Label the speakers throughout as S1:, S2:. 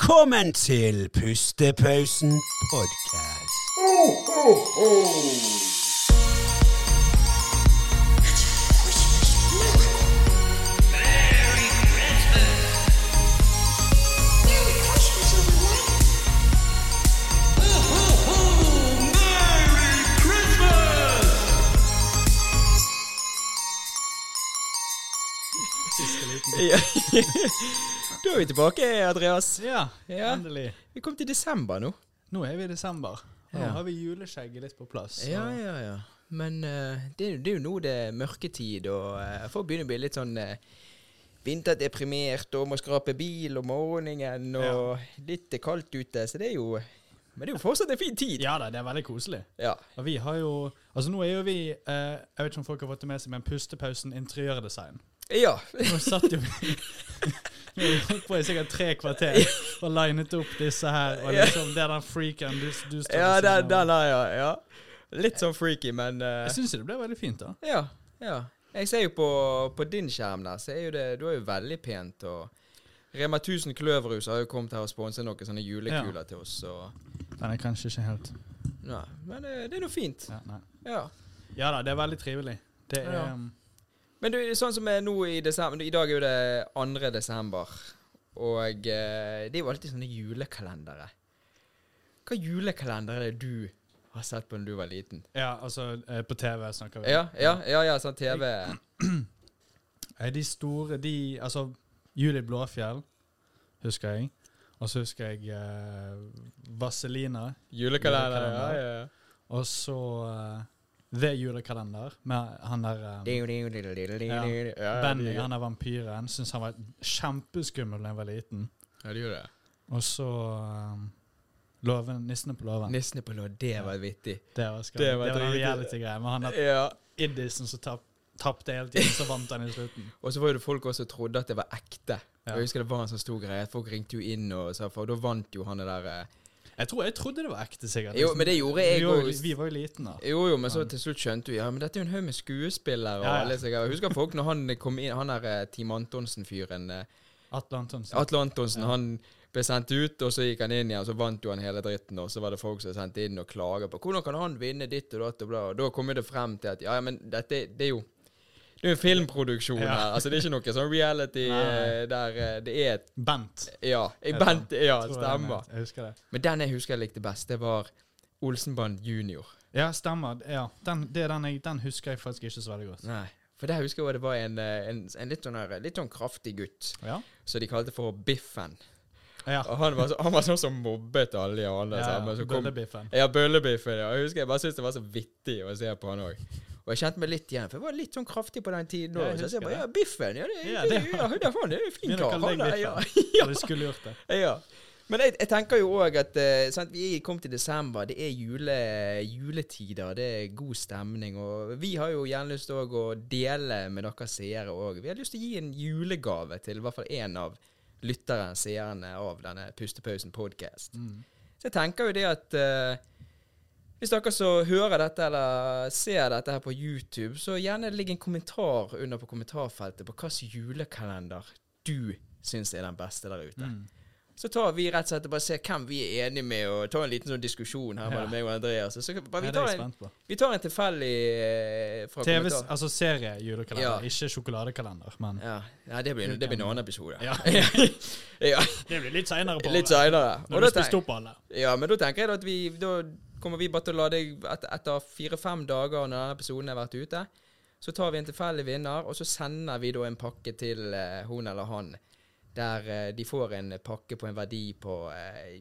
S1: Velkommen til Pustepausen podcast.
S2: Merry Christmas, everyone!
S3: Ja. da er vi tilbake, Andreas.
S4: Ja,
S3: Ja.
S4: endelig.
S3: Vi kom til desember nå.
S4: Nå er vi i desember. Nå
S3: Ja.
S4: har vi juleskjegget litt på plass. og-
S3: Ja, ja, ja. Men eh, det, er- det er jo nå det er mørketid, og eh, folk begynner å bli litt sånn eh, vinterdeprimert og må skrape bil om morgenen, og litt eh, kaldt ute, så det er jo Men det er jo fortsatt en fin tid.
S4: ja da, det er veldig koselig.
S3: Ja.
S4: Og vi har jo Altså, nå er jo vi eh, Jeg vet ikke om folk har fått det med seg, men Pustepausen interiørdesign.
S3: ja.
S4: Nå satt jo vi Vi har holdt på i sikkert tre kvarter og linet opp disse her, og liksom Det er den freaken du, du står
S3: ja
S4: ved siden av.
S3: den, den har jeg, ja. Litt sånn freaky, men eh,
S4: Jeg syns det ble veldig fint, da.
S3: Ja. ja. Jeg ser jo på, på din skjerm der, så er jo det Du er jo veldig pent. og Rema 1000 Kløverhus har jo kommet her og sponset noen sånne julekuler til oss. Og,
S4: Men jeg kanskje ikke helt
S3: nei, men det, det er nå fint.
S4: Ja, nei.
S3: Ja.
S4: ja da, det er veldig trivelig. Det er
S3: Ja.
S4: um,
S3: Men du, sånn som er nå i desember I dag er jo det 2. desember. Og eh, det er jo alltid sånne julekalendere. Hva julekalender er det du har sett på når du var liten?
S4: Ja, altså, eh, på TV snakker vi.
S3: Ja, ja, ja, ja sånn TV.
S4: Eh, De store, de Altså, Julie Blåfjell husker jeg. Og så husker jeg eh, Vaselina.
S3: Julekalender, ja, ja. ja.
S4: Og så eh, The Julekalender med han der eh,
S3: Ja,
S4: Benny,
S3: ja.
S4: han der vampyren. Syns han var kjempeskummel da jeg var liten.
S3: Ja, det gjorde det.
S4: Og så eh, Låven, Nissene på låven.
S3: Nissene på låven, det var vittig.
S4: Det var skam.
S3: Det
S4: Det
S3: var
S4: var en
S3: dritgøy.
S4: reality-greie med han der
S3: Ja.
S4: Iddisen som tap, tapte hele tiden, så vant han i slutten.
S3: Og så var det folk også som trodde at det var ekte.
S4: Ja.
S3: Jeg husker det var en sånn stor greie. at Folk ringte jo inn og sa for da vant jo han det der eh.
S4: Jeg tror jeg trodde det var ekte, sikkert.
S3: Jo, men det gjorde jeg
S4: vi, var jo,
S3: også.
S4: vi var jo liten da.
S3: Jo, jo, men så til slutt skjønte vi ja, men dette er jo en haug med skuespillere
S4: Ja,
S3: og
S4: ja.
S3: alle seg. Jeg husker folk når han kom inn, han der eh, Team Antonsen-fyren eh,
S4: Atle Antonsen.
S3: Atle Antonsen, han ble sendt ut, og så gikk han inn igjen, og så vant jo han hele dritten, og så var det folk som sendte inn og klaget på hvordan kan han vinne ditt og datt og bla, og da kom jo det frem til at ja, ja, men dette det er jo det er jo filmproduksjon
S4: Ja.
S3: her, altså det er ikke noe sånn reality eh, der eh, det er et
S4: Bent.
S3: Ja, jeg
S4: Heter han.
S3: Bent, ja,
S4: tror jeg
S3: stemmer.
S4: han het. Jeg husker det.
S3: Men den jeg husker jeg likte best, det var Olsenband junior.
S4: Ja, stemmer. Ja. Den, det er den, jeg, den husker jeg faktisk ikke så veldig godt.
S3: Nei. For der husker jeg også det var en, eh, en, en litt, sånn, her- litt sånn kraftig gutt,
S4: Ja.
S3: som de kalte for Biffen.
S4: ja.
S3: Og han var, så, han var sånn som mobbet alle de andre
S4: ja,
S3: sammen.
S4: ja.
S3: Så kom,
S4: Bøllebiffen.
S3: Ja, bøllebiffen. Ja. Jeg husker jeg bare syntes det var så vittig å se på han òg. Og jeg kjente meg litt igjen, for jeg var litt sånn kraftig på den tiden
S4: Ja, jeg
S3: òg. så jeg
S4: husker
S3: bare,
S4: det.
S3: ja, biffen, ja, det,
S4: Ja,
S3: det,
S4: det-
S3: ja, det, faen, det er jo en fin
S4: Begynner å
S3: kar.
S4: kalle
S3: Han,
S4: deg
S3: der, ja,
S4: Biffen.
S3: ja,
S4: Og du skulle gjort det.
S3: ja. Men jeg, jeg tenker jo òg at eh, sant, vi kom til desember, det er jule, juletider, det er god stemning. Og vi har jo gjerne lyst til å dele med dere seere òg. Vi har lyst til å gi en julegave til i hvert fall én av lyttere, seerne av denne Pustepausen podcast.
S4: Mm.
S3: Så jeg tenker jo det at eh, hvis dere som hører dette eller ser dette her på YouTube, så gjerne ligg en kommentar under på kommentarfeltet på hvilken julekalender du syns er den beste der ute.
S4: Mm.
S3: Så tar vi rett og slett og bare ser hvem vi er enige med, og tar en liten sånn diskusjon her mellom
S4: Ja.
S3: meg og Andreas. Så bare,
S4: Ja,
S3: vi,
S4: det er
S3: tar
S4: jeg
S3: en,
S4: spent på.
S3: vi tar en tilfeldig eh, fra
S4: TV,
S3: kommentar.
S4: altså
S3: Ja.
S4: seriejulekalender, ikke sjokoladekalender. Men
S3: Ja, Nei, det blir, det blir en annen episode.
S4: Ja.
S3: ja.
S4: det blir litt seinere på
S3: Litt seinere.
S4: Når du har spist opp alle.
S3: Ja, men da tenker jeg da at vi Da kommer vi bare til å la deg et, Etter fire-fem dager når denne episoden har vært ute, så tar vi en tilfeldig vinner, og så sender vi da en pakke til eh, hun eller han. Der eh, de får en pakke på en verdi på eh,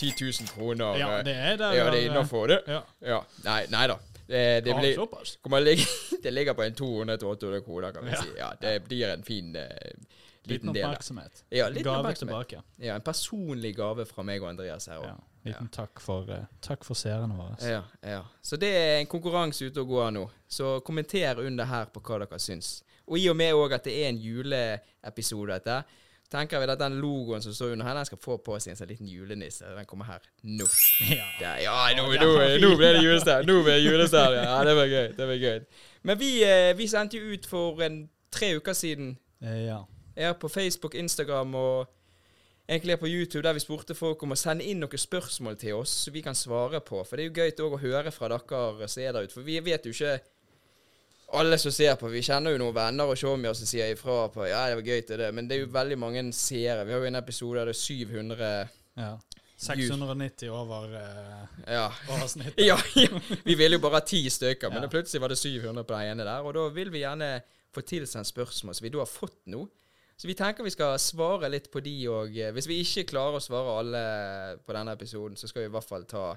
S3: 10 000 kroner.
S4: Ja, det er det.
S3: ja, det er innafor, det.
S4: Ja.
S3: Ja. Nei, nei da. Det, det
S4: Ah,
S3: blir
S4: Såpass.
S3: kommer å ligge- Det ligger på en 200-800 kroner, kan vi
S4: Ja.
S3: si. Ja, det blir en fin eh,
S4: Liten
S3: liten del. da.
S4: oppmerksomhet.
S3: Ja, liten
S4: Gave
S3: oppmerksomhet.
S4: tilbake.
S3: Ja, en personlig gave fra meg og Andreas her òg.
S4: Ja. Liten takk for, eh, takk for seerne våre.
S3: Ja, ja. Så det er en konkurranse ute og går nå. Så kommenter under her på hva dere syns. Og i og med òg at det er en juleepisode, dette, tenker vi at den logoen som står under her, den skal få på seg en sånn liten julenisse. Den kommer her nå.
S4: Ja.
S3: Der, ja, nå, nå, nå ble det julestjerne! Nå ble det julestjerne. Ja, det var gøy. det var gøy. Men vi, eh, vi sendte jo ut for en tre uker siden
S4: Eh, ja.
S3: ja, på Facebook, Instagram og egentlig er på YouTube, der vi spurte folk om å sende inn noen spørsmål til oss som vi kan svare på. For det er jo gøy til også å høre fra dere som er der ute. For vi vet jo ikke alle som ser på. Vi kjenner jo noen venner og showmier som sier ifra på ja, det var gøy til det. Men det er jo veldig mange seere. Vi har jo en episode der det er 700
S4: Ja. 690 over, eh,
S3: Ja.
S4: over snitt.
S3: Ja, ja. Vi ville jo bare ha ti stykker, men
S4: Ja.
S3: det plutselig var det 700 på den ene der. Og da vil vi gjerne få tilsendt spørsmål som vi da har fått nå. Så vi tenker vi skal svare litt på de òg. Hvis vi ikke klarer å svare alle på denne episoden, så skal vi i hvert fall ta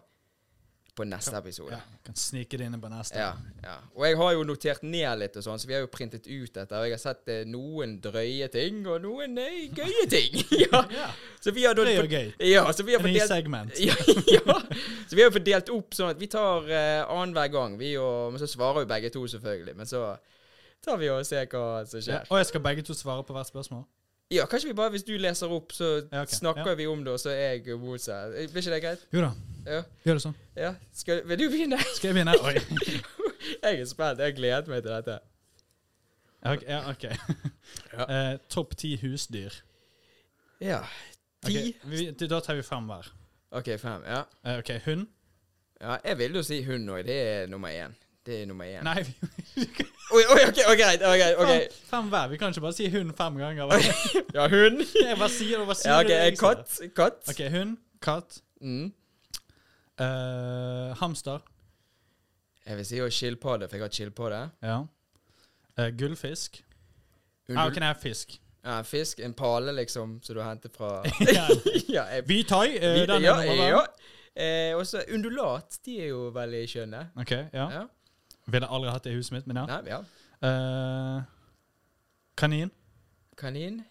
S3: på neste episode.
S4: Ja, kan snike det inn på neste.
S3: Ja, ja. Og jeg har jo notert ned litt, og sånn, så vi har jo printet ut dette. Og jeg har sett eh, noen drøye ting, og noen eh, gøye ting. ja.
S4: Ja.
S3: Så vi har da
S4: Det er jo gøy.
S3: Ja, så vi har
S4: En ny
S3: fordelt
S4: segment.
S3: ja, ja. Så vi har jo fordelt opp sånn at vi tar uh, annenhver gang. Vi og, men så svarer jo begge to, selvfølgelig. Men så tar vi og ser hva som
S4: Ja.
S3: skjer.
S4: Og jeg skal begge to svare på hvert spørsmål?
S3: Ja, kanskje vi bare, hvis du leser opp, så
S4: Ja, ok.
S3: snakker
S4: Ja.
S3: vi om det, og så er jeg motsatt. Eh, Blir ikke det greit?
S4: Jo da,
S3: Ja.
S4: gjør det sånn.
S3: ja. Skal, vil du begynne?
S4: Skal jeg begynne? Oi.
S3: jeg er spent. Jeg gleder meg til dette.
S4: Ja, ok. Ja, ok.
S3: Ja.
S4: Eh, Topp ti husdyr.
S3: Ja. Ti?
S4: Ok, vi, da tar vi fem hver.
S3: OK, fem. Ja.
S4: Eh, ok, Hund?
S3: ja. Jeg ville jo si hund òg. Det er nummer én. Det er nummer én.
S4: Nei, vi,
S3: Oi, oi, OK, ok, greit. ok,
S4: fem,
S3: ok.
S4: fem hver. Vi kan ikke bare si hund fem ganger. hver.
S3: Ja, hund.
S4: Jeg bare sier det. Hva sier
S3: Ja,
S4: du
S3: ok, eh,
S4: jeg sa det?
S3: Katt. Katt.
S4: Ok, Hund, katt,
S3: Mm.
S4: eh, hamster,
S3: Jeg vil si jo skilpadde, for jeg har skilpadde.
S4: ja. Eh, gullfisk.
S3: Under-
S4: Ah, ok, nei, fisk.
S3: ja, en fisk, en pale, liksom, som du henter fra
S4: Ja.
S3: Ja, jeg,
S4: Hvithai. eh,
S3: vi,
S4: den er
S3: ja,
S4: nummer
S3: ja.
S4: hver.
S3: Eh, Og så undulat. De er jo veldig skjønne.
S4: Ok, ja.
S3: Ja.
S4: Ville aldri hatt det i huset mitt, men ja.
S3: Nei, ja.
S4: Eh, kanin.
S3: Kanin.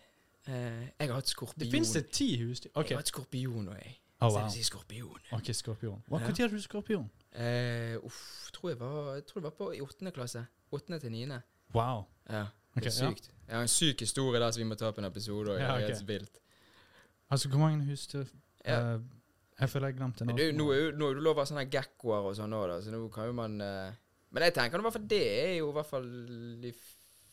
S3: Eh, jeg har hatt skorpion.
S4: Det fins det ti husdyr.
S3: Jeg
S4: Ok,
S3: har hatt skorpion òg, jeg.
S4: Oh,
S3: Så
S4: wow.
S3: jeg vil si skorpion.
S4: Ok, skorpion. Hva,
S3: Ja.
S4: Når hadde du skorpion?
S3: Eh, uff, tror jeg, var, jeg tror det var på i åttende klasse. Åttende til niende.
S4: Wow.
S3: Ja.
S4: Ok,
S3: Det
S4: ja.
S3: er sykt. Jeg har en syk historie der som vi må ta på en episode. Og,
S4: Ja,
S3: det er
S4: ok.
S3: helt vilt.
S4: Altså, hvor mange husdyr
S3: Ja.
S4: eh, Jeg føler jeg glemte
S3: Men
S4: noe.
S3: du, nå er jo nå er det lov å ha sånne gekkoer og sånn nå, da, så nå kan jo man eh, Men jeg tenker nå i hvert fall det er jo i hvert fall de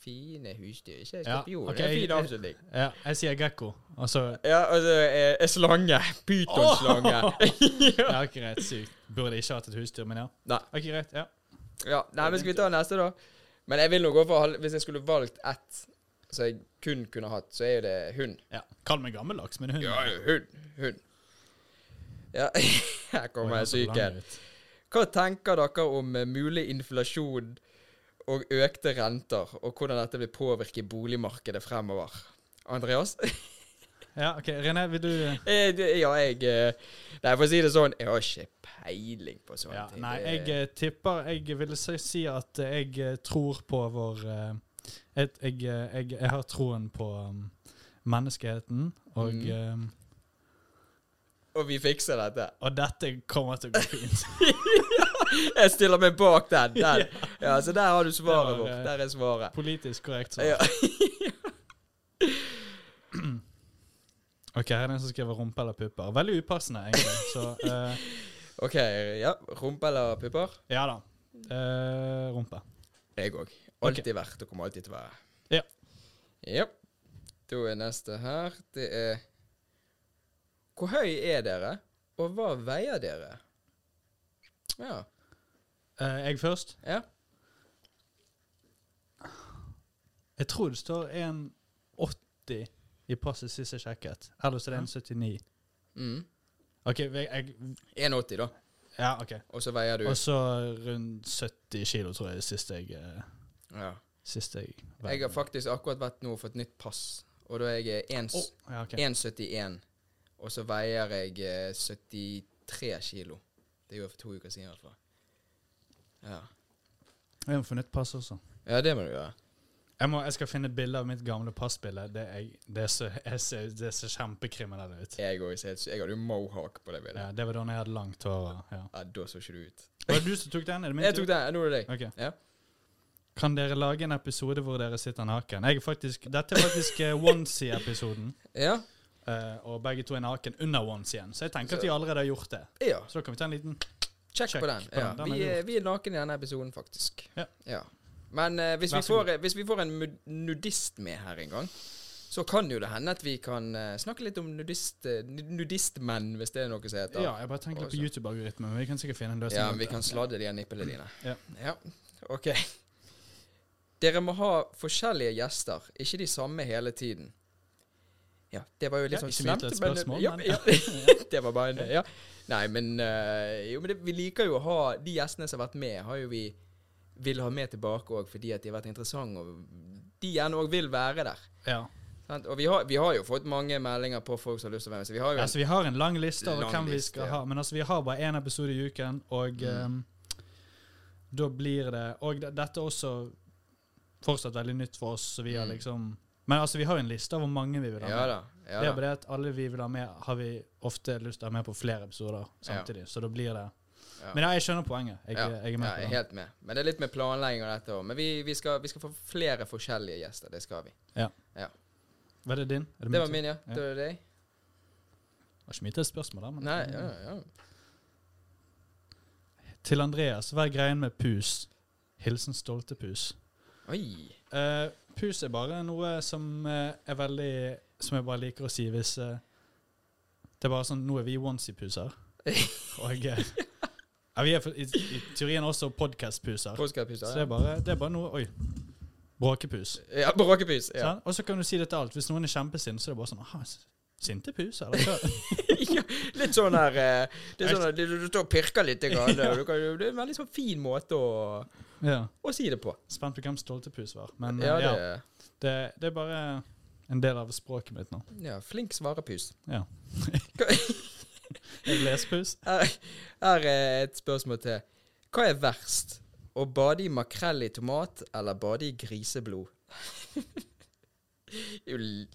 S3: fine husdyr, ikke
S4: Ja,
S3: skorpion.
S4: ok,
S3: Det er en
S4: jeg-
S3: fin avslutning.
S4: Ja, jeg sier gekko. Altså
S3: Ja, altså eh, en slange. Pytonslange. ja.
S4: Ja, greit. Sykt. Burde ikke hatt et husdyr, men ja.
S3: Nei.
S4: Ok, greit. Ja.
S3: ja. Nei, men skal vi ta neste, da? Men jeg vil nå gå for halv... Hvis jeg skulle valgt ett som jeg kun kunne hatt, så er jo det hund.
S4: ja. Kall meg gammeldags, men hun
S3: Ja, hund. Hund. Ja, her kommer jeg syk en. Hva tenker dere om eh, mulig inflasjon og økte renter, og hvordan dette vil påvirke boligmarkedet fremover? Andreas?
S4: Ja, ok. René, vil du
S3: Eh, det- ja, jeg eh, Nei, for å si det sånn, jeg har ikke peiling på sånne
S4: ja,
S3: ting.
S4: Nei,
S3: Det-
S4: jeg eh, tipper Jeg ville si si at eh, jeg eh, tror på vår eh, et, jeg, eh, jeg, jeg har troen på um, menneskeheten, og,
S3: Mm.
S4: eh,
S3: Og vi fikser dette.
S4: og dette kommer til å gå fint.
S3: Jeg stiller meg bak den. den. Ja, Så der har du svaret
S4: Det var,
S3: vårt.
S4: eh,
S3: Der er svaret.
S4: Politisk korrekt. Så.
S3: Ja.
S4: Ok, her er den som skriver rumpe eller pupper. Veldig upassende, egentlig. Så eh,
S3: OK. ja, Rumpe eller pupper?
S4: ja da. Eh, rumpe.
S3: Jeg òg.
S4: Ok.
S3: Alltid vært og kommer alltid til å være.
S4: Ja.
S3: Ja. Da er neste her. Det er Hvor høy er dere, og hva veier dere? Ja.
S4: Eh, jeg først.
S3: ja.
S4: Jeg tror det står 1,80 i passet sist jeg sjekket. Eller så er det 1,79.
S3: Mm.
S4: Ok, jeg, jeg
S3: 1,80, da.
S4: Ja, ok.
S3: Og så veier du
S4: Og så rundt 70 kilo, tror jeg, sist jeg eh,
S3: ja.
S4: Sist jeg
S3: Jeg har faktisk akkurat vært nå og fått nytt pass, og da er jeg eh, en s-
S4: Å, ja, ok.
S3: 1,71. Og så veier jeg eh, 73 kilo. Det gjorde jeg for to uker siden, i hvert fall. Ja.
S4: Jeg må få nytt pass også.
S3: ja, det må du gjøre.
S4: Jeg, må, jeg skal finne et bilde av mitt gamle passbilde. Det, jeg, det, ser, jeg ser, det ser kjempekriminell ut.
S3: Jeg, går i sets- jeg hadde jo mohawk på det bildet.
S4: Ja, det var da jeg hadde langt hår. Ja.
S3: Ja, da så ikke du ut.
S4: Var det du som tok den? Er det min
S3: Jeg
S4: tur?
S3: tok den. Nå er det deg.
S4: Ok.
S3: Ja.
S4: Kan dere lage en episode hvor dere sitter naken? Jeg er faktisk, dette er faktisk eh, onesie-episoden.
S3: Ja.
S4: eh, og begge to er naken under onesien. Så jeg tenker at de allerede har gjort det.
S3: ja.
S4: Så da kan vi ta en liten
S3: Check
S4: Check
S3: på den.
S4: på
S3: Ja.
S4: den. Den er
S3: Vi,
S4: god.
S3: er, vi er naken i denne episoden, faktisk.
S4: Ja.
S3: Men eh, hvis,
S4: Vær
S3: vi
S4: så
S3: får, hvis vi får en mu- nudist med her en gang, Så kan jo det hende at vi kan eh, snakke litt om nudist, eh, nudistmenn, hvis det er noe som heter.
S4: Ja, jeg bare tenker litt på YouTube-algoritmen. Vi kan sikkert finne en løsning.
S3: Ja,
S4: på
S3: vi
S4: det.
S3: kan sladde de av nippene dine.
S4: Ja.
S3: Ok. Dere må ha forskjellige gjester, ikke de samme hele tiden. Ja, det var jo litt
S4: Ja,
S3: sånn
S4: ikke mye til et
S3: men-
S4: spørsmål,
S3: ja,
S4: men-
S3: ja, det var bare en Ja. Nei, men eh, Jo, men det, vi liker jo å ha De gjestene som har vært med, har jo vi vil ha med tilbake òg fordi at de har vært interessante, og de gjerne òg vil være der.
S4: Ja.
S3: Sant? Og vi har, vi har jo fått mange meldinger på folk som har lyst til å være med, så vi har jo en
S4: Altså, vi har en lang liste over
S3: Lang
S4: hvem vi
S3: liste,
S4: skal
S3: ja. Mm.
S4: ha, men altså, vi har bare én episode i uken, og ehm, da blir det Og de- dette er også fortsatt veldig nytt for oss, så vi har
S3: Mm.
S4: liksom Men altså, vi har jo en liste over hvor mange vi vil ha med.
S3: Ja da. Ja,
S4: det
S3: da.
S4: er bare det at alle vi vil ha med, har vi ofte lyst til å ha med på flere episoder samtidig, så da blir det
S3: Ja.
S4: Men ja, jeg skjønner poenget. Jeg,
S3: ja.
S4: jeg er med
S3: ja, jeg
S4: på
S3: er
S4: det.
S3: helt med. Men det er litt med planlegging og dette òg. Men vi, vi, skal, vi skal få flere forskjellige gjester. Det skal vi.
S4: Var det din? Er
S3: Det
S4: tur?
S3: var min, ja.
S4: Ja.
S3: Det var det deg?
S4: Det var ikke mye til spørsmål der, men
S3: Nei, ja, ja.
S4: Til Andreas, hva er greien med pus? Hilsen stolte pus.
S3: Oi.
S4: Eh, pus er bare noe som eh, er veldig Som jeg bare liker å si hvis eh, Det er bare sånn Nå er vi onesie-puser. Og eh, ja, vi er for, i, i teorien også podcast-puser.
S3: Påskepus.
S4: Så det er bare, det er bare noe Oi. Bråkepus.
S3: Ja, bråkepus. Ja.
S4: Sant? Og så kan du si det til alt. Hvis noen er kjempesint, så er det bare sånn aha, s- Sinte puser? Eller hva?
S3: ja. Litt sånn her eh, Det er sånn her, du, du står og pirker litt. Grann, og du kan, jo- det er en veldig sånn fin måte å,
S4: ja.
S3: å si det på.
S4: Spent på hvem stoltepus var. Men eh,
S3: Ja, det,
S4: ja, det, det er bare en del av språket mitt nå.
S3: ja, flink svarepus.
S4: Ja. Lespus.
S3: Her her er et spørsmål til. Hva er verst? Å bade i makrell i tomat eller bade i griseblod? Det er jo l-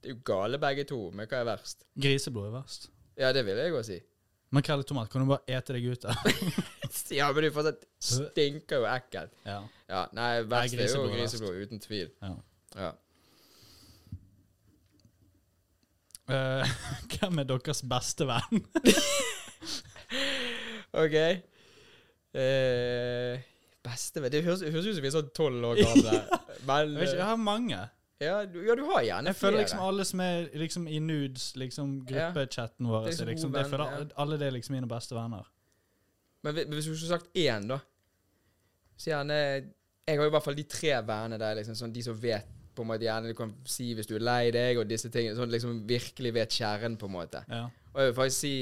S3: det er jo gale begge to, men hva er verst?
S4: Griseblod er verst.
S3: Ja, det vil jeg òg si.
S4: Makrell i tomat kan du bare ete deg ut av.
S3: Ja, men det fortsatt stinker jo ekkelt.
S4: ja.
S3: Ja, nei, verst
S4: Nei,
S3: er jo
S4: griseblod er verst.
S3: griseblod, uten tvil.
S4: Ja.
S3: Ja.
S4: Eh, hvem er deres beste venn?
S3: OK. Eh, beste venn Det høres, høres ut som vi er sånn tolv år gamle. Men
S4: Jeg, vet ikke, jeg har mange.
S3: ja, du, ja, du har gjerne
S4: Jeg føler
S3: flere.
S4: liksom alle som er liksom i nudes, liksom gruppechatten vår
S3: Det er
S4: så
S3: så
S4: liksom,
S3: gode
S4: det føler
S3: venn, ja.
S4: alle- Alle det er liksom mine beste venner.
S3: Men hvi- hvis du skulle sagt én, da Så gjerne Jeg har jo i hvert fall de tre vennene der, liksom, sånn, de som vet på en måte gjerne Du kan si hvis du er lei deg, og disse tingene. Sånn liksom virkelig vet kjernen, på en måte.
S4: Ja.
S3: Og jeg vil faktisk si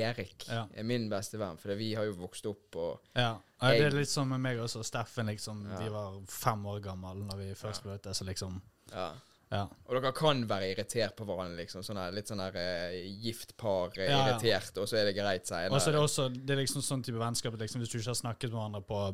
S3: Erik
S4: Ja.
S3: er min beste venn, for vi har jo vokst opp og
S4: ja. Nei, Det
S3: Jeg-
S4: er litt som med meg også. Steffen, liksom.
S3: Ja.
S4: Vi var fem år gamle når vi først møttes, så liksom
S3: ja.
S4: Ja.
S3: Og dere kan være irritert på hverandre, liksom. Sånn her, litt sånn her eh, gift par eh,
S4: Ja, ja.
S3: irritert, og så er det greit seinere.
S4: Og så er det også det er liksom sånn type vennskap at liksom, hvis du ikke har snakket med hverandre på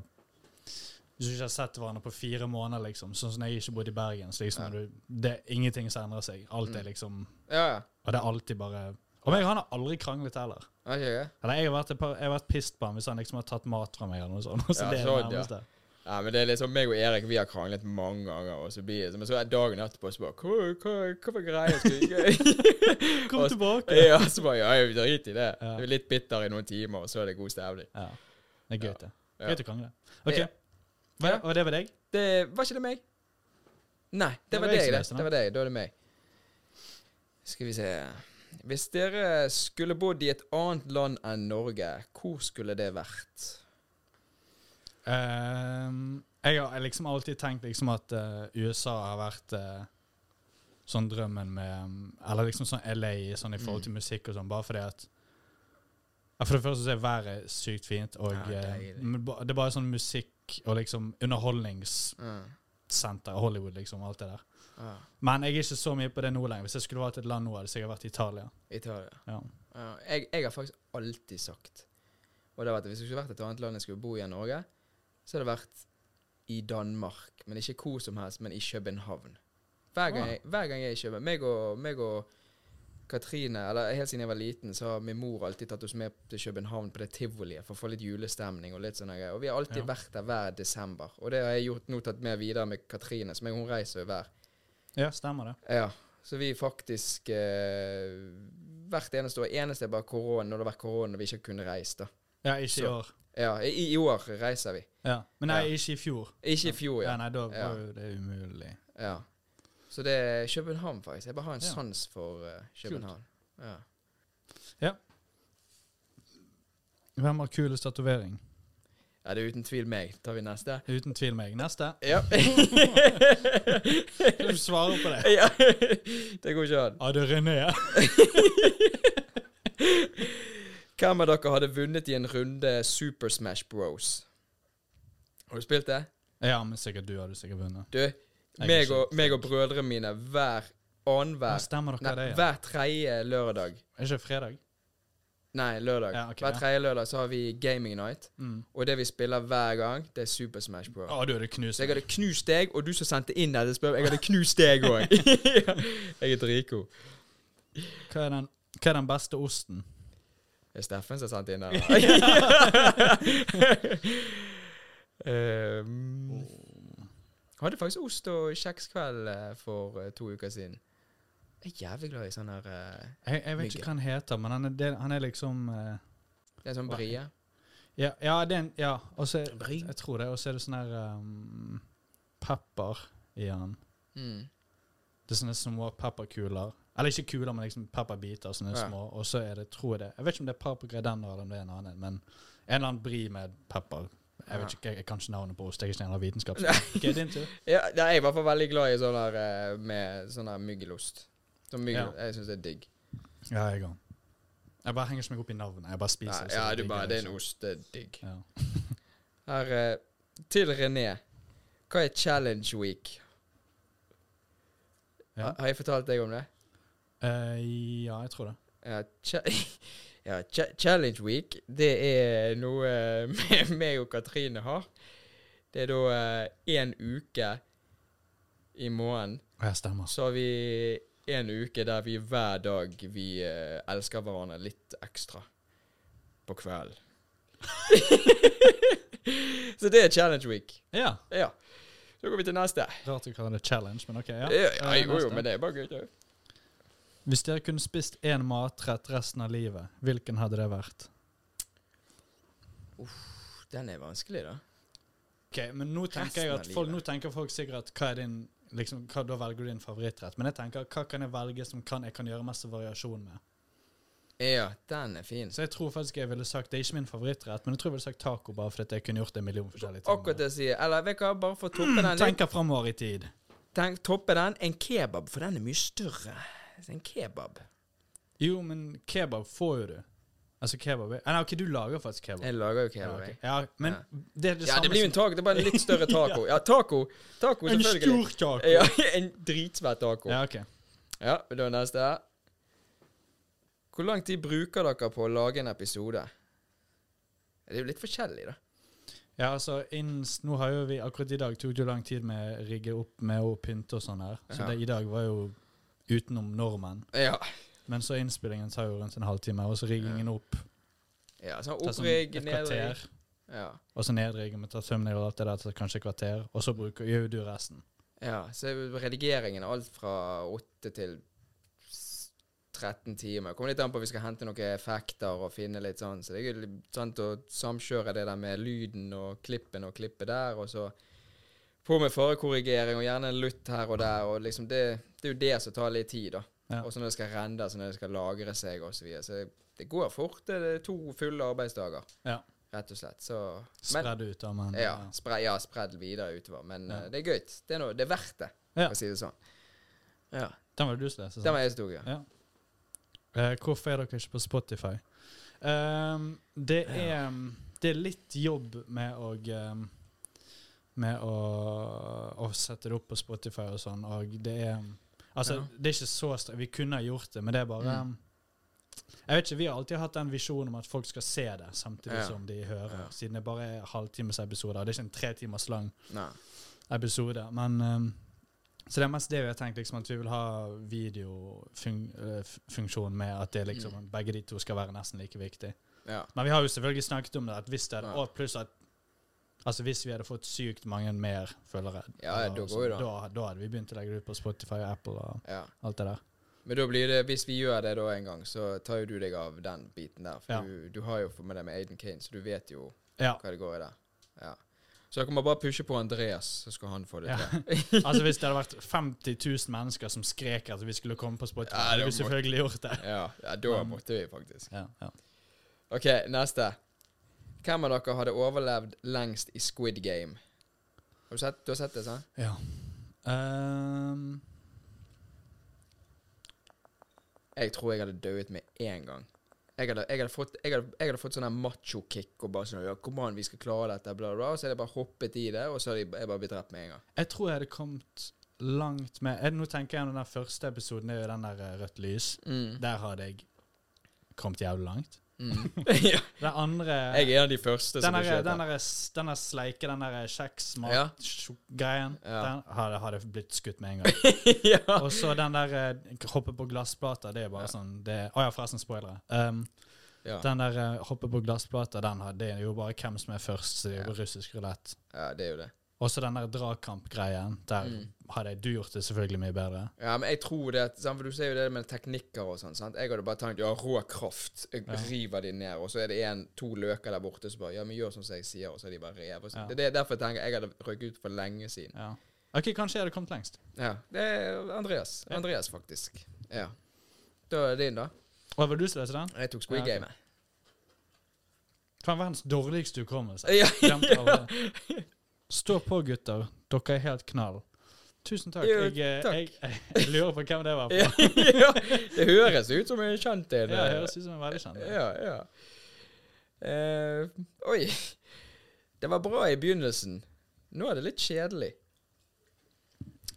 S4: hvis du ikke har sett hverandre på fire måneder, liksom, sånn som når jeg ikke bodde i Bergen så liksom,
S3: Ja. Mm.
S4: når du, det er Ingenting som endrer seg. Alt er liksom
S3: Ja, ja.
S4: Og det er alltid bare Og meg og han har aldri kranglet heller.
S3: Er ikke det?
S4: Eller jeg har vært, et par, jeg har vært pissed på han hvis han liksom har tatt mat fra meg eller noe sånt. Så
S3: Ja,
S4: det er det
S3: sånn, ja.
S4: nærmeste.
S3: Ja, men det er liksom meg og Erik, vi har kranglet mange ganger, og så blir det Men så er dagen etterpå så bare Hva, hva, hva for greier skal vi
S4: Kom
S3: Og så-
S4: tilbake!
S3: Ja, så bare Ja, jeg driter i det.
S4: Ja.
S3: Du er litt bitter i noen timer, og så er det god stemning.
S4: Ja. Det er gøy, det.
S3: Ja.
S4: Gøy å krangle. OK.
S3: Ja.
S4: Hva, og det var deg?
S3: Det Var ikke det meg? Nei, det,
S4: Det
S3: var,
S4: var jeg
S3: deg,
S4: som
S3: det.
S4: leste den.
S3: Det var deg. Da er det meg. Skal vi se Hvis dere skulle bodd i et annet land enn Norge, hvor skulle det vært?
S4: Ehm, jeg har liksom alltid tenkt liksom at eh, USA har vært eh, sånn drømmen med um, Eller liksom sånn LA sånn i forhold til musikk og sånn, bare fordi at ja, For det første så er været sykt fint, og
S3: Ja,
S4: eh,
S3: deilig.
S4: men ba- det er bare sånn musikk og liksom underholdningssenter,
S3: Mm.
S4: Hollywood, liksom, alt det der.
S3: Ah,
S4: Men jeg er ikke så mye på det nå lenger. Hvis jeg skulle valgt et land nå, hadde jeg sikkert vært Italia.
S3: Italia.
S4: Ja.
S3: Ja, jeg, jeg har faktisk alltid sagt Og det har vært at Hvis det skulle vært et annet land jeg skulle bo i enn Norge, så hadde det vært i Danmark. Men ikke hvor som helst, men i København. Hver gang,
S4: Ah.
S3: jeg, hver gang jeg er i København meg og, meg og Katrine, eller helt siden jeg var liten, så har min mor alltid tatt oss med til København på det tivoliet for å få litt julestemning og litt sånne greier. Og vi har alltid
S4: Ja.
S3: vært der hver desember. Og det har jeg gjort nå tatt med videre med Katrine, som jeg, hun reiser jo hver
S4: Ja, stemmer det.
S3: ja, så vi faktisk eh, hvert eneste år Eneste er bare korona, når det har vært korona og vi ikke kunne reist. da.
S4: Ja, ikke i
S3: Så-
S4: år.
S3: Ja, i, i år reiser vi.
S4: Ja. Men nei,
S3: Ja.
S4: ikke i fjor.
S3: Ikke i fjor,
S4: Ja,
S3: ja.
S4: nei, da
S3: Ja.
S4: var jo det umulig.
S3: ja. Så det er København, faktisk. Jeg bare har en
S4: Ja.
S3: sans for eh, København. Ja.
S4: Hvem har kulest tatovering?
S3: ja, det er uten tvil meg. Tar vi neste?
S4: Uten tvil meg. Neste.
S3: Ja.
S4: Du svarer på det.
S3: ja. Det går ikke an.
S4: Ja, det er René.
S3: Hvem av dere hadde vunnet i en runde Super Smash Bros? Har du spilt det?
S4: Ja, men sikkert du hadde sikkert vunnet.
S3: Du,
S4: har
S3: meg
S4: ikke
S3: og, meg og brødrene mine hver
S4: Ja,
S3: annenhver
S4: stemmer dere
S3: Nei,
S4: det? Ja.
S3: hver tredje lørdag.
S4: Er ikke det fredag?
S3: Nei, lørdag.
S4: Ja, ok, ja.
S3: hver tredje lørdag så har vi gaming night.
S4: Mm.
S3: Og det vi spiller hver gang, det er Super Smash Bros.
S4: Å, du hadde knust
S3: Så
S4: meg.
S3: jeg hadde knust deg, og du som sendte inn dette spørsmålet, jeg hadde knust deg òg. jeg er dritgod.
S4: Hva er den, hva er den beste osten?
S3: Det er Steffen som sendte inn den. um, hadde faktisk ost og kjekskveld eh, for eh, to uker siden. Jeg er jævlig glad i sånn her eh,
S4: Jeg, jeg vet ikke hva han heter, men han er, del, han er liksom eh,
S3: Det er sånn brie.
S4: Ja, ja, det er en, ja. og så
S3: Brie?
S4: jeg tror det. Og så er det sånn her um, pepper i den.
S3: Mm.
S4: Det er sånne små pepperkuler. Eller ikke kuler, men liksom pepperbiter. Sånne
S3: Ja.
S4: små. Og så er det, tror jeg det Jeg vet ikke om det er paprika i den, eller om det er en annen, men en eller annen bri med pepper. Jeg vet ikke, jeg, jeg kan ikke navnet på ost. Jeg er ikke en av vitenskapsmenn. Ok, din tur.
S3: Ja, nei, jeg er i hvert fall veldig glad i sånn her eh, med sånn her myggelost. Sånn myggel, Jeg syns det er digg.
S4: Ja, jeg òg. Jeg bare henger ikke meg opp i navnet. Jeg bare
S3: Nei,
S4: spiser. så
S3: ja,
S4: jeg
S3: du
S4: digger
S3: bare, det er altså. en
S4: ikke.
S3: ost. Det er digg.
S4: liksom. Ja.
S3: Her eh, til René. Hva er challenge week?
S4: Ja.
S3: Ha- Har jeg fortalt deg om det?
S4: Eh, ja, jeg tror det.
S3: Ja, cha ja cha Challenge Week, det er noe eh, me- meg og Katrine har. Det er da én uke i måneden.
S4: Ja, stemmer. altså.
S3: Så har vi en uke der vi hver dag vi eh, elsker hverandre litt ekstra. På kvelden. så det er Challenge Week.
S4: Ja.
S3: Ja. Så går vi til neste.
S4: Rart du kaller det challenge, men OK. ja.
S3: Ja, ja,
S4: Eh,
S3: jeg går jo,
S4: neste.
S3: men det er bare gøy. det.
S4: Hvis dere kunne spist én matrett resten av livet, hvilken hadde det vært?
S3: Den er vanskelig, da.
S4: Ok, men nå tenker, jeg
S3: Resten
S4: at
S3: av
S4: folk, nå
S3: livet.
S4: tenker folk sikkert at hva er din liksom, hva, Da velger du din favorittrett. Men jeg tenker hva kan jeg velge som kan, jeg kan gjøre mest variasjon med?
S3: Ja, den er fin.
S4: Så jeg tror faktisk jeg ville sagt Det er ikke min favorittrett, men jeg tror jeg ville sagt taco bare fordi at jeg kunne gjort en million forskjellige ting.
S3: Akkurat det jeg sier. Eller vet du hva, bare for å toppe
S4: Mm,
S3: den litt.
S4: tenker framover i tid.
S3: Tenk, toppe den. En kebab, for den er mye større. Så En kebab.
S4: Jo, men kebab får jo du. Altså kebab er- Nei, OK, du lager faktisk kebab.
S3: Jeg lager jo
S4: Ja,
S3: kebab,
S4: ok.
S3: jeg.
S4: ja, men
S3: Ja.
S4: det er det
S3: Ja,
S4: samme
S3: det blir jo en
S4: som
S3: taco. Det er bare en litt større taco. Ja, taco. Taco,
S4: En
S3: selvfølgelig.
S4: stor taco.
S3: Ja, en dritsvær taco.
S4: Ja, ok.
S3: Ja, da er neste her. Hvor lang tid bruker dere på å lage en episode? Det er jo litt forskjellig, da.
S4: Ja, altså, innen, s- nå har jo vi, akkurat i dag tok det jo lang tid med å rigge opp med å pynte og sånn her. Så
S3: Ja.
S4: det i dag var jo utenom normen.
S3: Ja.
S4: Men så innspillingen tar jo rundt en halvtime, og så riggingen opp.
S3: ja sånn
S4: tar sånn
S3: opprigg,
S4: et
S3: nedrigg.
S4: kvarter,
S3: Ja.
S4: og så nedrigging, og tar thumbnail og alt det der, så kanskje et kvarter, og så bruker gjør jo du resten.
S3: ja. Så er jo redigeringen alt fra åtte til s- 13 timer. Kommer litt an på om vi skal hente noen effekter og finne litt sånn. Så det er jo litt sant å samkjøre det der med lyden og klippen og klippet der, og så på med farekorrigering og gjerne en lutt her og der, og liksom det Det er jo det som tar litt tid, da.
S4: Ja.
S3: Og så når det skal rendes, og når det skal lagre seg og så videre. Så det går fort. Det er to fulle arbeidsdager,
S4: Ja.
S3: rett og slett. Så men,
S4: Spredd ut, da, men
S3: ja, spre, ja, spredd videre utover. Men
S4: Ja.
S3: eh, det er gøy. Det er, noe, det er verdt det,
S4: Ja.
S3: for å si det sånn. Ja.
S4: Den var det du som leste,
S3: Den
S4: sant?
S3: var jeg som tok, ja.
S4: Ja. Eh, hvorfor er dere ikke på Spotify? Ehm, det, er, ehm, det er litt jobb med å ehm, Med å, å sette det opp på Spotify og sånn, og det er Altså,
S3: Ja.
S4: det er ikke så stra- Vi kunne ha gjort det, men det er bare ehm,
S3: Mm.
S4: Jeg vet ikke, Vi har alltid hatt den visjonen om at folk skal se det samtidig
S3: Ja.
S4: som de hører,
S3: Ja.
S4: siden det bare er halvtimesepisoder. Det er ikke en tre timers lang
S3: Nei.
S4: episode. Men ehm, Så det er mest det vi har tenkt, liksom, at vi vil ha videofunksjon med at det liksom,
S3: Mm.
S4: begge de to skal være nesten like viktig.
S3: Ja.
S4: Men vi har jo selvfølgelig snakket om det, at hvis det
S3: Ja.
S4: og pluss at Altså Hvis vi hadde fått sykt mange mer følgere,
S3: Ja, ja, da
S4: og
S3: går jo
S4: sånn, da, da hadde vi begynt å legge det ut på Spotify og Apple og
S3: ja.
S4: alt det der.
S3: Men da blir det, hvis vi gjør det da en gang, så tar jo du deg av den biten der. For
S4: Ja.
S3: du, du har jo fått med deg med Aiden Kane, så du vet jo
S4: Ja,
S3: hva det går i der. Ja. Så jeg kommer bare pushe på Andreas, så skal han få det
S4: Ja.
S3: til.
S4: Altså Hvis det hadde vært 50 000 mennesker som skrek at vi skulle komme på Spotify,
S3: Ja, det
S4: hadde vi
S3: må-
S4: selvfølgelig gjort det.
S3: Ja, ja da måtte vi faktisk.
S4: Ja, ja.
S3: OK, neste. Hvem av dere hadde overlevd lengst i Squid Game? Har du sett, du har sett det, sant?
S4: ja. Ehm,
S3: Jeg tror jeg hadde dødd med en gang. Jeg hadde, jeg hadde fått, jeg hadde, jeg hadde fått sånn her macho-kick og bare sånn ja, 'Kom an, vi skal klare dette', bla, bla, bla. Og så hadde jeg bare hoppet i det, og så hadde jeg, jeg bare blitt drept med en gang.
S4: jeg tror jeg hadde kommet langt med er det, Nå tenker jeg på den der første episoden, det er jo den der eh, Rødt lys.
S3: Mm.
S4: Der hadde jeg kommet jævlig langt.
S3: Mm. ja,
S4: Den andre
S3: jeg er en av de første
S4: den
S3: som
S4: der,
S3: blir
S4: den
S3: kjørt.
S4: der, s- den der sleike, den der eh,
S3: Ja.
S4: kjeksmat-greien,
S3: Ja.
S4: den hadde, hadde blitt skutt med en gang.
S3: ja.
S4: Og så den der eh, hoppe på glassplater, det er bare sånn det, Å ja, forresten, spoilere. Um,
S3: Ja.
S4: Den der eh, hoppe på glassplater, den har, det er jo bare hvem som er først, så det er jo russisk rulett.
S3: ja, det er jo det.
S4: Og så den der dragkamp-greien, der
S3: Mm.
S4: hadde jeg- du gjort det selvfølgelig mye bedre.
S3: Ja, men jeg tror det at, sant, For du ser jo det med teknikker og sånn. sant? Jeg hadde bare tenkt ja, rå kraft. Jeg
S4: Ja.
S3: river de ned. Og så er det en, to løker der borte som bare ja, men gjør sånn som jeg sier, og så er de bare rev. Og sånn.
S4: Ja.
S3: Det er det- derfor jeg tenker jeg hadde røyket ut for lenge siden.
S4: Ja. OK, kanskje jeg hadde kommet lengst.
S3: Ja, Det er Andreas.
S4: Ja.
S3: Andreas, faktisk. Ja. Da er det din, da.
S4: Å, var det du som leste den?
S3: Jeg tok Squid
S4: Ja, ok.
S3: Game. jeg.
S4: Hva er verdens dårligste hukommelse?
S3: Ja,
S4: Glemte over det. Stå på, gutter. Dere er helt knall. Tusen takk.
S3: Jo,
S4: Jeg, eh,
S3: takk.
S4: Jeg, jeg lurer på hvem det var.
S3: ja,
S4: På.
S3: ja. Det høres ut som en kjent en.
S4: Ja, det høres ut som en veldig kjent.
S3: Ja, ja. Eh, oi. Det var bra i begynnelsen. Nå er det litt kjedelig.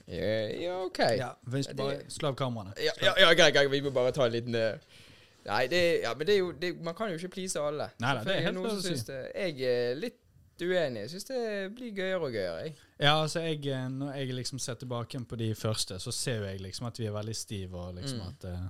S3: Ja, ja OK. Ja,
S4: Ja, hvis du bare slå av kameraene.
S3: ja, ja, greit, greit. Vi må bare ta en liten eh, Nei, det, ja, men det er jo det, Man kan jo ikke please alle.
S4: Nei, nei, det er
S3: For jeg
S4: helt
S3: noen
S4: lov
S3: som
S4: å si.
S3: syns det- Jeg er litt uenig. Jeg syns det blir gøyere og gøyere. Jeg.
S4: Ja, altså jeg, eh, Når jeg liksom ser tilbake på de første, så ser jo jeg liksom at vi er veldig stive. og liksom
S3: Mm.
S4: at... eh,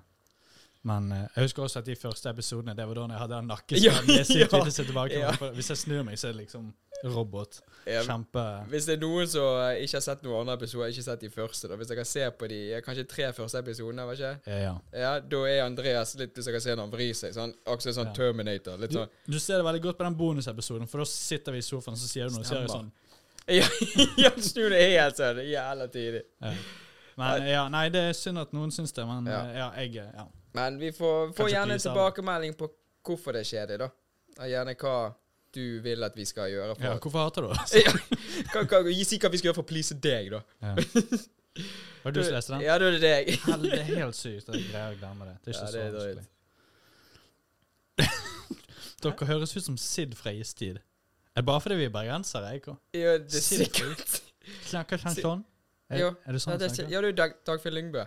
S4: men eh, jeg husker også at de første episodene Det var da jeg hadde den
S3: Ja,
S4: nakkeskaden. Det er sykt
S3: ja.
S4: lite å se tilbake på,
S3: Ja.
S4: for Hvis jeg snur meg, så er det liksom robot.
S3: Ja,
S4: Kjempe
S3: Hvis det er noen som eh, ikke har sett noen andre episoder, ikke sett de første, da. Hvis dere ser på de eh, kanskje tre første episodene, var ikke?
S4: Ja, eh, ja.
S3: Ja, da er Andreas litt Hvis dere ser når han vrir seg, sånn, akkurat sånn
S4: Ja.
S3: Terminator. Litt
S4: Du,
S3: sånn
S4: du ser det veldig godt på den bonusepisoden, for da sitter vi i sofaen så sier du noe. Så er det sånn
S3: Stemmer. Ja, ja snur det helt sånn. Jævla tidlig.
S4: Ja. Men ja, nei, det er synd at noen syns det, men
S3: Ja.
S4: eh, ja, jeg eh, ja.
S3: Men vi får, får
S4: Kanskje
S3: gjerne en
S4: please alle.
S3: tilbakemelding på hvorfor det er kjedelig, da. Og gjerne hva du vil at vi skal gjøre
S4: ja,
S3: for
S4: Hvorfor hater du oss?
S3: ja, kan, kan, Si hva vi skal gjøre for å please deg, da.
S4: Ja. Var det du som leste den?
S3: Ja, da er det deg.
S4: Hel- Det er helt sykt. Jeg greier å glemme det. Det er
S3: Ja,
S4: ikke
S3: det er
S4: så
S3: drøyt.
S4: vanskelig. Dere høres ut som Sid fra Istid. Er det bare fordi vi er bergensere? Jeg,
S3: Ja, det er
S4: Sier det
S3: sikkert.
S4: snakker ikke han
S3: Sid-
S4: sånn? Er,
S3: Jo.
S4: er det
S3: Ja,
S4: sånn han
S3: det er,
S4: snakker?
S3: ja, du er Dag, Dagfinn Lyngbø.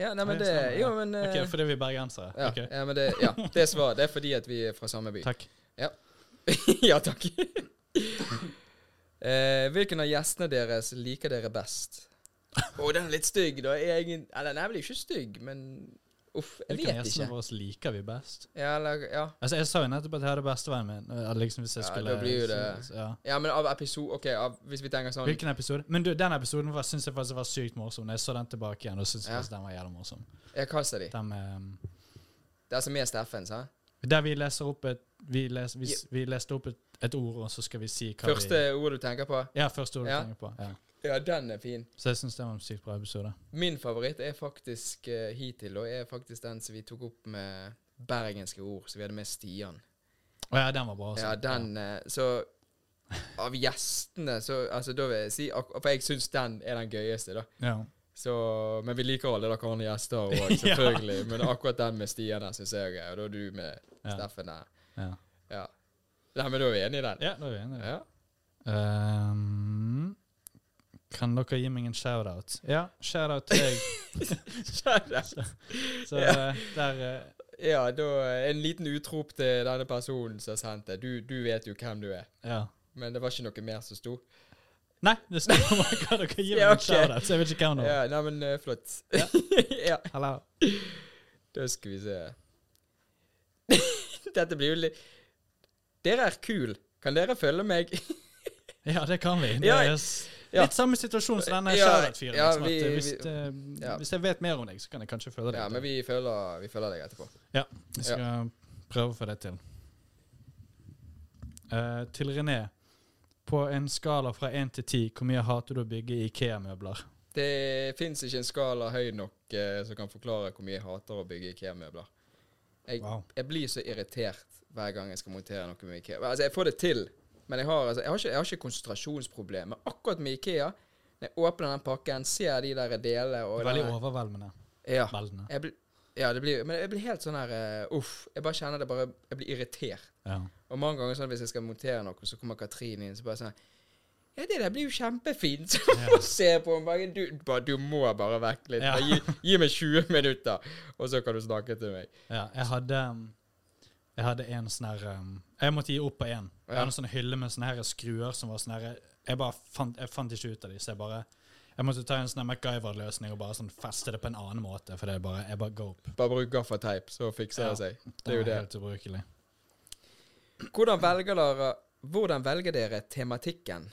S3: Ja, nei,
S4: Ja,
S3: men det
S4: stemmer,
S3: Jo,
S4: ja.
S3: men eh,
S4: Ok, fordi vi er bergensere.
S3: ja,
S4: Ok,
S3: ja, men det, ja, det er svaret. Det er fordi at vi er fra samme by.
S4: Takk.
S3: ja, takk. eh, hvilken av gjestene deres liker dere best? Å, den er litt stygg. Da. Jeg, egen- eller, den er vel ikke stygg, men Uff, jeg
S4: Hvilke av
S3: vet
S4: gjestene
S3: ikke.
S4: våre liker vi best?
S3: Ja, eller, ja.
S4: Altså, Jeg sa jo nettopp at jeg hadde bestevennen min. eh, Liksom hvis jeg
S3: Ja,
S4: skulle
S3: da blir jo det-
S4: Ja.
S3: ja, men av episode OK, av, hvis vi tenker sånn
S4: Hvilken episode? Men du, den episoden var- syns jeg faktisk var sykt morsom. Når jeg så den tilbake igjen, og syntes jeg
S3: Ja.
S4: faktisk den var jævlig morsom.
S3: Ja, hva sa de?
S4: Den med, um,
S3: Det er som er Steffen, sa
S4: der vi leser opp et Vi, les, vi, s-
S3: Ja.
S4: vi leste opp et, et ord, og så skal vi si hva
S3: Første ord du tenker på?
S4: vi Ja, første ord du
S3: Ja.
S4: tenker på. Ja.
S3: Ja, den er fin.
S4: Så jeg syns det var en sykt bra episode.
S3: Min favoritt er faktisk eh, hittil, og er faktisk den som vi tok opp med bergenske ord, så vi hadde med Stian.
S4: Å ja, den var bra. altså. Også.
S3: Ja, den eh, Så av gjestene, så altså, da vil jeg si ak For jeg syns den er den gøyeste, da.
S4: Ja.
S3: Så, men vi liker alle dere andre gjester òg, selvfølgelig. Men akkurat den med Stian der syns jeg er gøy. Og da du med
S4: Ja.
S3: Steffen der.
S4: Ja.
S3: Ja. Nei, men da er vi enige i den?
S4: ja, da er vi enige.
S3: Ja.
S4: Um, kan dere gi meg en shout-out? Ja, shout-out til deg. Så eh, der eh,
S3: ja, da eh, en liten utrop til denne personen som har sendt det. Du, du vet jo hvem du er.
S4: Ja.
S3: Men det var ikke noe mer som sto.
S4: Nei, det står bare hva dere gir meg
S3: Ja,
S4: en
S3: ok.
S4: shout-out, så jeg vet ikke hvem det var.
S3: Ja, nei, men eh, flott.
S4: Ja.
S3: ja.
S4: Hallo.
S3: Da skal vi se Dette blir jo litt Dere er kul. Kan dere følge meg?
S4: Ja, det kan vi. Det
S3: Ja,
S4: er s-
S3: ja.
S4: Litt samme situasjon som denne
S3: Ja,
S4: Charlotte-fyren.
S3: ja,
S4: liksom, at,
S3: vi-
S4: eh, hvis,
S3: vi-
S4: eh,
S3: ja.
S4: hvis jeg vet mer om deg, så kan jeg kanskje føle eh. deg.
S3: Ja, men vi følger, vi følger deg etterpå.
S4: Jeg skal prøve å få det til. Eh, til René. på en skala fra 1 til 10, hvor mye hater du å bygge IKEA-møbler?
S3: Det fins ikke en skala høy nok eh, som kan forklare hvor mye jeg hater å bygge IKEA-møbler. Jeg,
S4: Wow.
S3: jeg blir så irritert hver gang jeg skal montere noe med IKEA. Altså, jeg får det til, men jeg har, altså, jeg har, ikke, jeg har ikke konsentrasjonsproblemer. Men akkurat med IKEA, når jeg åpner den pakken, ser de der delene og
S4: Veldig
S3: den-
S4: overveldende.
S3: ja,
S4: Veldende.
S3: jeg blir, ja, det blir Men jeg blir helt sånn her eh, Uff. Jeg bare kjenner det bare Jeg blir irritert.
S4: Ja.
S3: Og mange ganger sånn hvis jeg skal montere noe, så kommer Katrine inn så bare sånn Ja, det der blir jo kjempefint. Så får se på henne bare du, bare du må bare vekk litt.
S4: Ja.
S3: Bare Gi, gi meg 20 minutter, og så kan du snakke til meg.
S4: Ja, jeg hadde um, Jeg hadde en sånn her um, Jeg måtte gi opp på en Jeg
S3: Ja.
S4: hadde en sånn hylle med sånne her skruer som var sånn her Jeg bare fant, jeg fant ikke ut av de, så jeg bare Jeg måtte ta en sånn her MacGyver-løsning og bare sånn feste det på en annen måte, for det er bare Jeg bare go opp.
S3: Bare bruk gaffateip, så fikser
S4: Ja.
S3: det seg. Det er jo det.
S4: Helt ubrukelig.
S3: Hvordan velger dere Hvordan velger dere tematikken?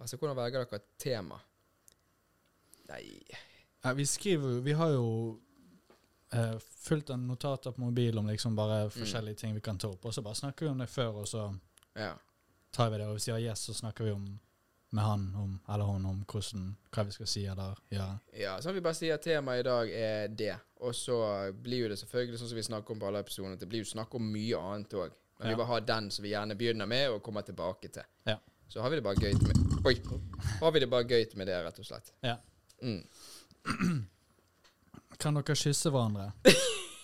S3: Altså, hvordan velger dere tema? Nei
S4: Ja, vi skriver jo Vi har jo eh, fulgt en notater på mobil om liksom bare
S3: Mm.
S4: forskjellige ting vi kan ta opp, og så bare snakker vi om det før, og så
S3: Ja.
S4: tar vi det, og hvis vi har yes, så snakker vi om med han om, eller hun om hvordan, hva vi skal si eller gjøre.
S3: Ja, sånn vi bare sier at temaet i dag er det, og så blir jo det selvfølgelig sånn som vi snakker om på alle episodene, at det blir jo snakk om mye annet òg. Men
S4: Ja.
S3: vi bare har den som vi gjerne begynner med og kommer tilbake til.
S4: Ja.
S3: Så har vi det bare gøy med Oi! Har vi det bare gøy med det, rett og slett.
S4: Ja.
S3: Mm.
S4: Kan dere kysse hverandre?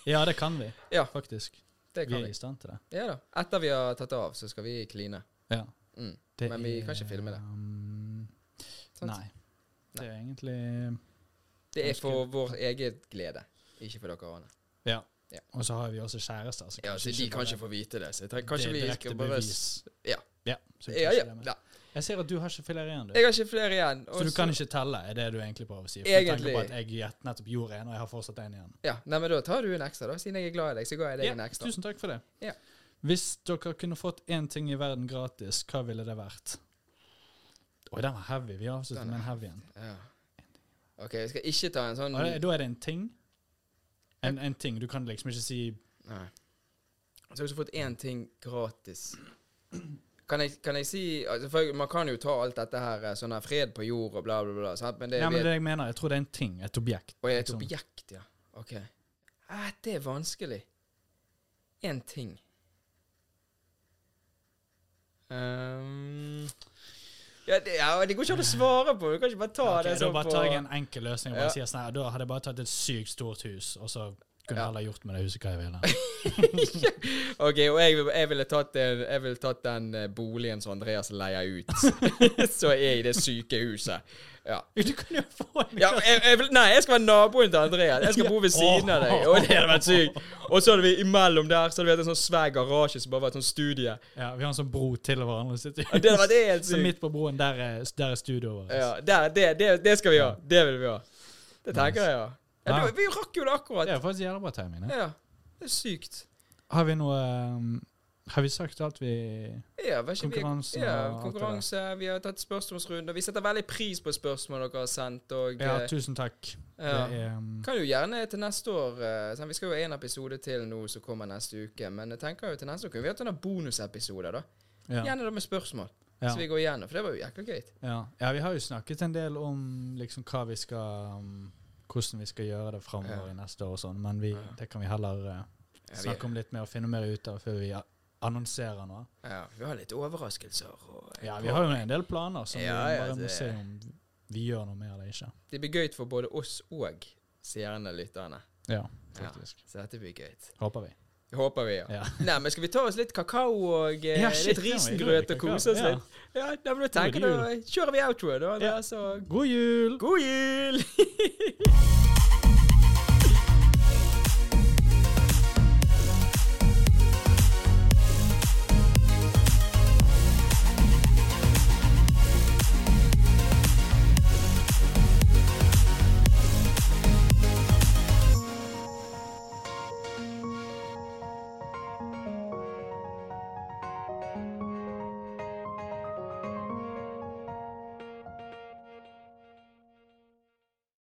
S4: ja, det kan vi.
S3: Ja.
S4: Faktisk.
S3: Det
S4: Vi
S3: kan
S4: er
S3: vi.
S4: i stand til det.
S3: Ja da. Etter vi har tatt av, så skal vi kline.
S4: Ja.
S3: Mm.
S4: det
S3: Men vi
S4: er,
S3: kan ikke filme det.
S4: um,
S3: Sant?
S4: nei. Det er egentlig
S3: Det er for vår egen glede, ikke for dere andre.
S4: Ja.
S3: Ja.
S4: Og så har vi også kjærester.
S3: Ja, så de kan ikke
S4: bare-
S3: få vite det. Så jeg tenker, kanskje
S4: det er
S3: vi
S4: direkte
S3: skal bare
S4: bevis.
S3: Ja.
S4: Ja, så vi
S3: Ja,
S4: kan
S3: ja.
S4: ikke det med.
S3: da.
S4: Jeg ser at du har ikke flere igjen, du.
S3: Jeg har ikke flere igjen.
S4: så du
S3: og
S4: kan ikke telle, er det du egentlig prøver å si? For Du tenker
S3: Egentlig.
S4: på at jeg gjett- nettopp gjorde en, og jeg har fortsatt en igjen.
S3: Ja, nei, men da tar du en ekstra, da. Siden jeg er glad i deg, så ga jeg deg
S4: Ja,
S3: en ekstra.
S4: tusen takk for det.
S3: Ja.
S4: Hvis dere kunne fått én ting i verden gratis, hva ville det vært? Oi, den var heavy. Vi avslutter
S3: Den er
S4: med en heavy en.
S3: Ja. OK, jeg skal ikke ta en sånn
S4: Og det- Da er det en ting. En, en ting. Du kan liksom ikke si
S3: Nei. Så har jeg også fått én ting gratis. Kan jeg, kan jeg si altså for Man kan jo ta alt dette her eh, sånn her fred på jord og bla, bla, bla. Sant? Men det,
S4: Nei, men
S3: vet-
S4: det er det jeg mener, jeg tror det er en ting. Et objekt.
S3: Og jeg er et
S4: liksom.
S3: objekt, ja. OK. Eh, det er vanskelig. Én ting. Ehm, ja, det, ja, det går ikke an å svare på. Du kan ikke bare ta
S4: Ok,
S3: det
S4: da
S3: sånn
S4: bare
S3: på
S4: tar jeg en enkel løsning. og Bare
S3: Ja.
S4: sier sånn, her, da hadde jeg bare tatt et sykt stort hus, og så kunne
S3: Ja.
S4: jeg alle gjort med det huset hva jeg ville.
S3: Ok, og jeg, jeg ville tatt, den- jeg ville tatt den eh, boligen som Andreas leier ut. så jeg er i det syke huset. Ja.
S4: Du kunne jo få en
S3: Ja, jeg, jeg, vil- nei, jeg skal være naboen til Andreas. Jeg skal bo ved siden av deg. Og det hadde vært sykt. Og så hadde vi imellom der så hadde vi hatt en sånn svær garasje som bare var et sånt studie.
S4: Ja, vi har en sånn bro til hverandre. Sitt hus.
S3: Ja, det hadde vært helt
S4: så
S3: sykt.
S4: midt på broen, der er, der er studioet vårt.
S3: Ja, der, det, det, det skal vi ha. Det vil vi ha. Det tenker jeg, ja. ja
S4: Ja.
S3: du, vi rakk jo det akkurat.
S4: Det
S3: Ja.
S4: er faktisk jævla bra timing. Ja.
S3: Det er sykt.
S4: Har vi noe um, Har vi sagt alt vi
S3: Ja, vær ikke vi-
S4: Konkurransen og alt
S3: ja,
S4: det
S3: konkurranse. Vi har tatt spørsmålsrunder. Vi setter veldig pris på spørsmål dere har sendt. Og,
S4: Ja,
S3: eh,
S4: tusen takk.
S3: ja.
S4: Det er, um,
S3: Kan jo gjerne til neste år eh, sånn, Vi skal jo ha en episode til nå som kommer neste uke. Men jeg tenker jo til neste år kunne vi hatt noen bonusepisoder, da.
S4: ja,
S3: Gjerne da med spørsmål.
S4: ja,
S3: Så vi går igjennom. For det var jo jækla gøy.
S4: ja. ja, vi har jo snakket en del om liksom hva vi skal um, hvordan vi skal gjøre det framover
S3: Ja.
S4: i neste år og sånn, men vi,
S3: Ja.
S4: det kan vi heller uh,
S3: Ja, vi,
S4: snakke om litt mer og finne mer ut av før vi a- annonserer noe.
S3: ja, vi har litt overraskelser. Og,
S4: Ja, vi har jo en del planer som
S3: Ja,
S4: vi
S3: ja,
S4: bare må
S3: det-
S4: se om vi gjør noe med eller ikke.
S3: Det blir gøy for både oss og seerne, lytterne.
S4: Ja,
S3: Ja,
S4: faktisk.
S3: så dette blir gøy.
S4: Håper vi.
S3: Håper vi, ja.
S4: Ja.
S3: Nei, men skal vi ta oss litt kakao og eh,
S4: Ja, shit,
S3: litt
S4: ja, vi
S3: risengrøt
S4: gjør
S3: og
S4: kakao,
S3: kose oss
S4: ja.
S3: litt? Ja, da, men da tenker
S4: God
S3: jeg da kjører vi outroen, da.
S4: Ja.
S3: Andreas, og
S4: God jul!
S3: god jul!